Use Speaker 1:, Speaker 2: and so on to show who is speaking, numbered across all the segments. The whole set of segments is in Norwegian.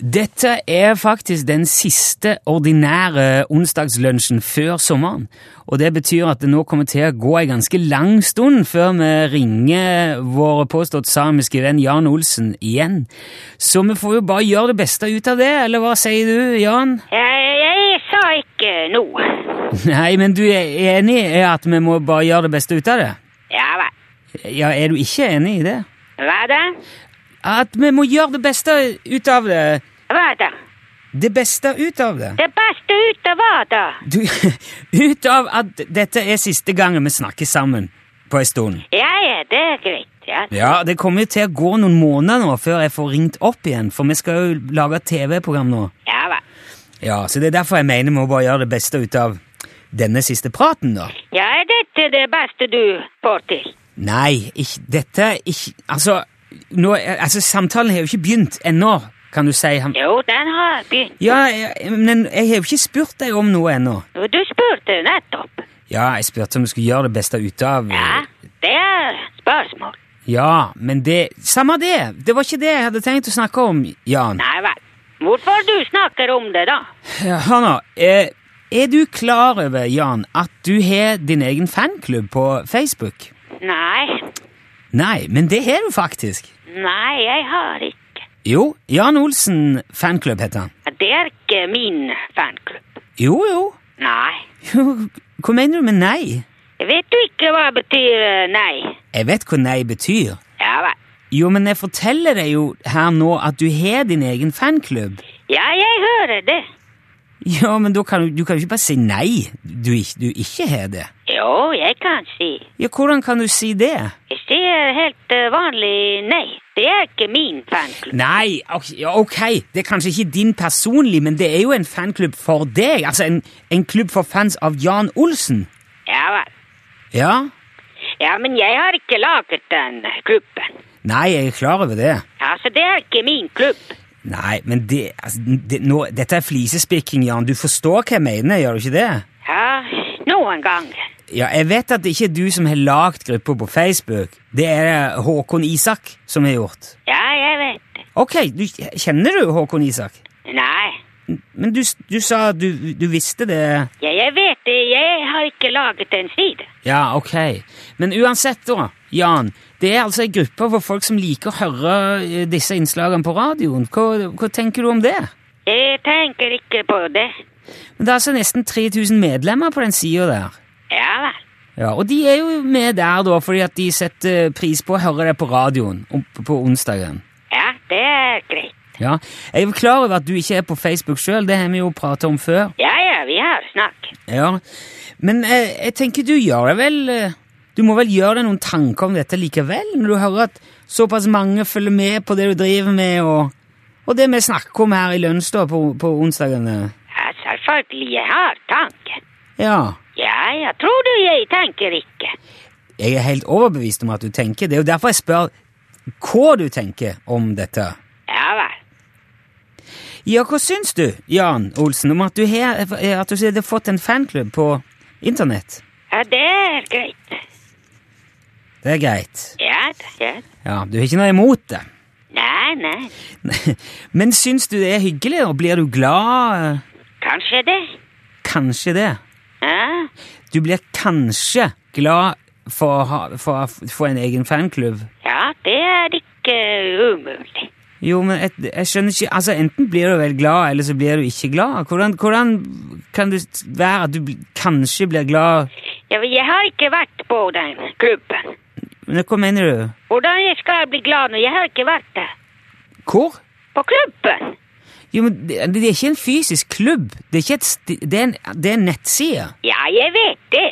Speaker 1: Dette er faktisk den siste ordinære onsdagslunsjen før sommeren. Og det betyr at det nå kommer til å gå en ganske lang stund før vi ringer vår påstått samiske venn Jan Olsen igjen. Så vi får jo bare gjøre det beste ut av det, eller hva sier du, Jan?
Speaker 2: Jeg, jeg sa ikke noe.
Speaker 1: Nei, men du er enig i at vi må bare gjøre det beste ut av det?
Speaker 2: Ja vel.
Speaker 1: Ja, er du ikke enig i det?
Speaker 2: Hva da?
Speaker 1: At vi må gjøre det beste ut av det?
Speaker 2: Hva da?
Speaker 1: Det beste ut av det?
Speaker 2: Det beste ut av hva da?
Speaker 1: Du, ut av at dette er siste gangen vi snakker sammen på en stund.
Speaker 2: Ja, ja, det er greit. Ja.
Speaker 1: Ja, Det kommer jo til å gå noen måneder nå før jeg får ringt opp igjen, for vi skal jo lage et TV-program nå.
Speaker 2: ja vel.
Speaker 1: Ja, Så det er derfor jeg mener vi må bare gjøre det beste ut av denne siste praten, da.
Speaker 2: Ja, er dette det beste du får til?
Speaker 1: Nei, ikke, dette ikke, Altså, nå, altså, samtalen har jo ikke begynt ennå, kan du si. Han-
Speaker 2: Jo, den har begynt.
Speaker 1: Ja, jeg- men jeg har jo ikke spurt deg om noe ennå.
Speaker 2: Og Du spurte nettopp.
Speaker 1: Ja, jeg spurte om du skulle gjøre det beste ut av
Speaker 2: Ja, det er spørsmål.
Speaker 1: Ja, men det Samme det! Det var ikke det jeg hadde tenkt å snakke om, Jan.
Speaker 2: Nei vel. Hvorfor du snakker om det da?
Speaker 1: Ja, Hør nå. Eh, er du klar over, Jan, at du har din egen fanklubb på Facebook?
Speaker 2: Nei,
Speaker 1: Nei, men det har du faktisk.
Speaker 2: nei, jeg har ikke.
Speaker 1: Jo, Jan Olsen fanklubb heter han.
Speaker 2: Det er ikke min fanklubb.
Speaker 1: Jo, jo.
Speaker 2: Nei.
Speaker 1: Jo, Hva mener du med nei?
Speaker 2: Vet du ikke hva betyr eh, nei?
Speaker 1: Jeg vet hva nei betyr.
Speaker 2: Ja vel.
Speaker 1: Jo, men jeg forteller deg jo her nå at du har din egen fanklubb.
Speaker 2: Ja, jeg hører det.
Speaker 1: Ja, men da kan du, du kan jo ikke bare si nei. Du, ikk- du ikke har det.
Speaker 2: Jo, jeg kan si.
Speaker 1: Ja, hvordan kan du si det?
Speaker 2: Jeg sier helt eh, vanlig nei. Det er ikke min fanklubb.
Speaker 1: Nei, ok, ja, ok, det er kanskje ikke din personlig, men det er jo en fanklubb for deg. Altså en, en klubb for fans av Jan Olsen.
Speaker 2: Ja vel.
Speaker 1: Ja?
Speaker 2: Ja, men jeg har ikke laget den klubben.
Speaker 1: Nei, jeg er klar over det.
Speaker 2: Altså, det er ikke min klubb.
Speaker 1: Nei, men det, altså, det nå, Dette er flisespikking, Jan. Du forstår hva jeg mener, gjør du ikke det?
Speaker 2: Ja, noen ganger.
Speaker 1: Ja, Jeg vet at det ikke er du som har lagd gruppa på Facebook. Det er det Håkon Isak som har gjort.
Speaker 2: Ja, jeg vet det.
Speaker 1: Ok, du, kjenner du Håkon Isak?
Speaker 2: Nei.
Speaker 1: Men du, du sa at du, du visste det
Speaker 2: Ja, jeg vet det. Jeg har ikke laget en side.
Speaker 1: Ja, ok. Men uansett da, Jan, det er altså en gruppe for folk som liker å høre eh, disse innslagene på radioen. Hva, hva tenker du om det?
Speaker 2: Jeg tenker ikke på det.
Speaker 1: Men Det er altså nesten 3000 medlemmer på den sida der.
Speaker 2: Ja vel.
Speaker 1: Ja, Og de er jo med der da, fordi at de setter eh, pris på å høre det på radioen om- på onsdagen.
Speaker 2: Ja, det er greit.
Speaker 1: Ja, Jeg er jo klar over at du ikke er på Facebook sjøl, det har vi jo prata om før.
Speaker 2: Ja, ja, vi har snakket.
Speaker 1: Ja, Men eh, jeg tenker du gjør deg vel eh, Du må vel gjøre deg noen tanker om dette likevel, når du hører at såpass mange følger med på det du driver med, og, og det vi snakker om her i lunsj på, på onsdagene.
Speaker 2: Ja, selvfølgelig, jeg har tanken.
Speaker 1: Ja.
Speaker 2: Ja, ja, tror du jeg tenker ikke?
Speaker 1: Jeg er helt overbevist om at du tenker. Det er jo derfor jeg spør hva du tenker om dette.
Speaker 2: Ja vel.
Speaker 1: Ja, hva syns du, Jan Olsen, om at du har at du sier du har fått en fanklubb på internett?
Speaker 2: Ja, det er greit.
Speaker 1: Det er greit.
Speaker 2: Ja, da, ja. da.
Speaker 1: Ja, Du har ikke noe imot det?
Speaker 2: Nei, nei.
Speaker 1: Men syns du det er hyggelig, og blir du glad?
Speaker 2: Kanskje det.
Speaker 1: Kanskje det.
Speaker 2: Ja,
Speaker 1: Du blir kanskje glad for å ha- for å f- få en egen fanklubb.
Speaker 2: ja det er ikke umulig.
Speaker 1: Jo, men jeg, jeg skjønner ikke Altså, Enten blir du vel glad, eller så blir du ikke glad. Hvordan, hvordan kan det være at du bl- kanskje blir glad
Speaker 2: Ja, men jeg har ikke vært på den klubben.
Speaker 1: Men Hva mener du?
Speaker 2: Hvordan jeg skal bli glad når jeg har ikke vært der?
Speaker 1: Hvor?
Speaker 2: På klubben?
Speaker 1: Jo, men det, det er ikke en fysisk klubb. Det er, ikke et sti, det er, en, det er en nettside.
Speaker 2: Ja, jeg vet det.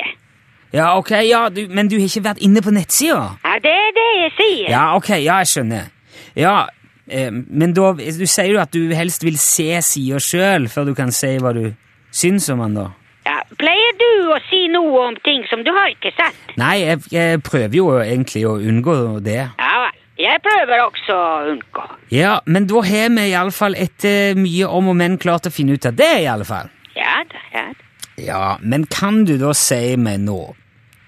Speaker 1: Ja, ok, ja, du, men du har ikke vært inne på nettsida?
Speaker 2: Ja, det er det jeg sier.
Speaker 1: Ja, ok, ja, jeg skjønner. Ja, eh, men da, du sier jo at du helst vil se sida sjøl før du kan si hva du syns om den, da.
Speaker 2: Ja, pleier du å si noe om ting som du har ikke sett?
Speaker 1: Nei, jeg, jeg prøver jo egentlig å unngå det.
Speaker 2: Ja vel. Jeg prøver også å unngå.
Speaker 1: Ja, men da har vi iallfall etter eh, mye om og men klart å finne ut av det, i alle fall.
Speaker 2: Ja da, ja da.
Speaker 1: Ja, men kan du da si meg nå,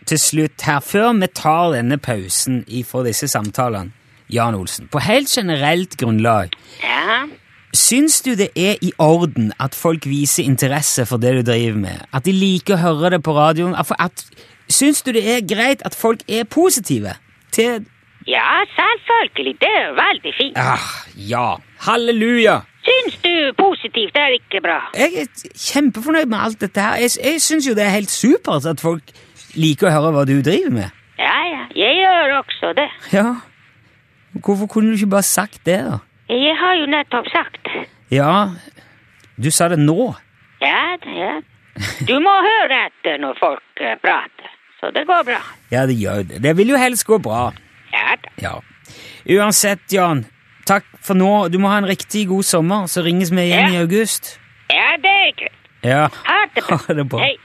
Speaker 1: til slutt her, før vi tar denne pausen ifra disse samtalene, Jan Olsen, på helt generelt grunnlag,
Speaker 2: Ja.
Speaker 1: Syns du det er i orden at folk viser interesse for det du driver med? At de liker å høre det på radioen? At, at, syns du det er greit at folk er positive til
Speaker 2: Ja, selvfølgelig. Det er veldig fint.
Speaker 1: ah, Ja. Halleluja!
Speaker 2: Syns du positivt er ikke bra?
Speaker 1: Jeg er kjempefornøyd med alt dette her. Jeg, jeg syns jo det er helt supert at folk liker å høre hva du driver med.
Speaker 2: Ja, ja. Jeg gjør også det.
Speaker 1: Ja. Hvorfor kunne du ikke bare sagt det, da?
Speaker 2: Jeg har jo nettopp sagt det.
Speaker 1: Ja, du sa det nå.
Speaker 2: Ja, det- ja. Du må høre etter når folk eh, prater. Så det går bra.
Speaker 1: Ja, det gjør jo det. Det vil jo helst gå bra.
Speaker 2: Ja da.
Speaker 1: Ja. Uansett, Jan, takk for nå. Du må ha en riktig god sommer, så ringes vi igjen
Speaker 2: Ja.
Speaker 1: i august.
Speaker 2: Ja, det er greit.
Speaker 1: Ja.
Speaker 2: Ha det bra.
Speaker 1: Ha det bra.
Speaker 2: Hei.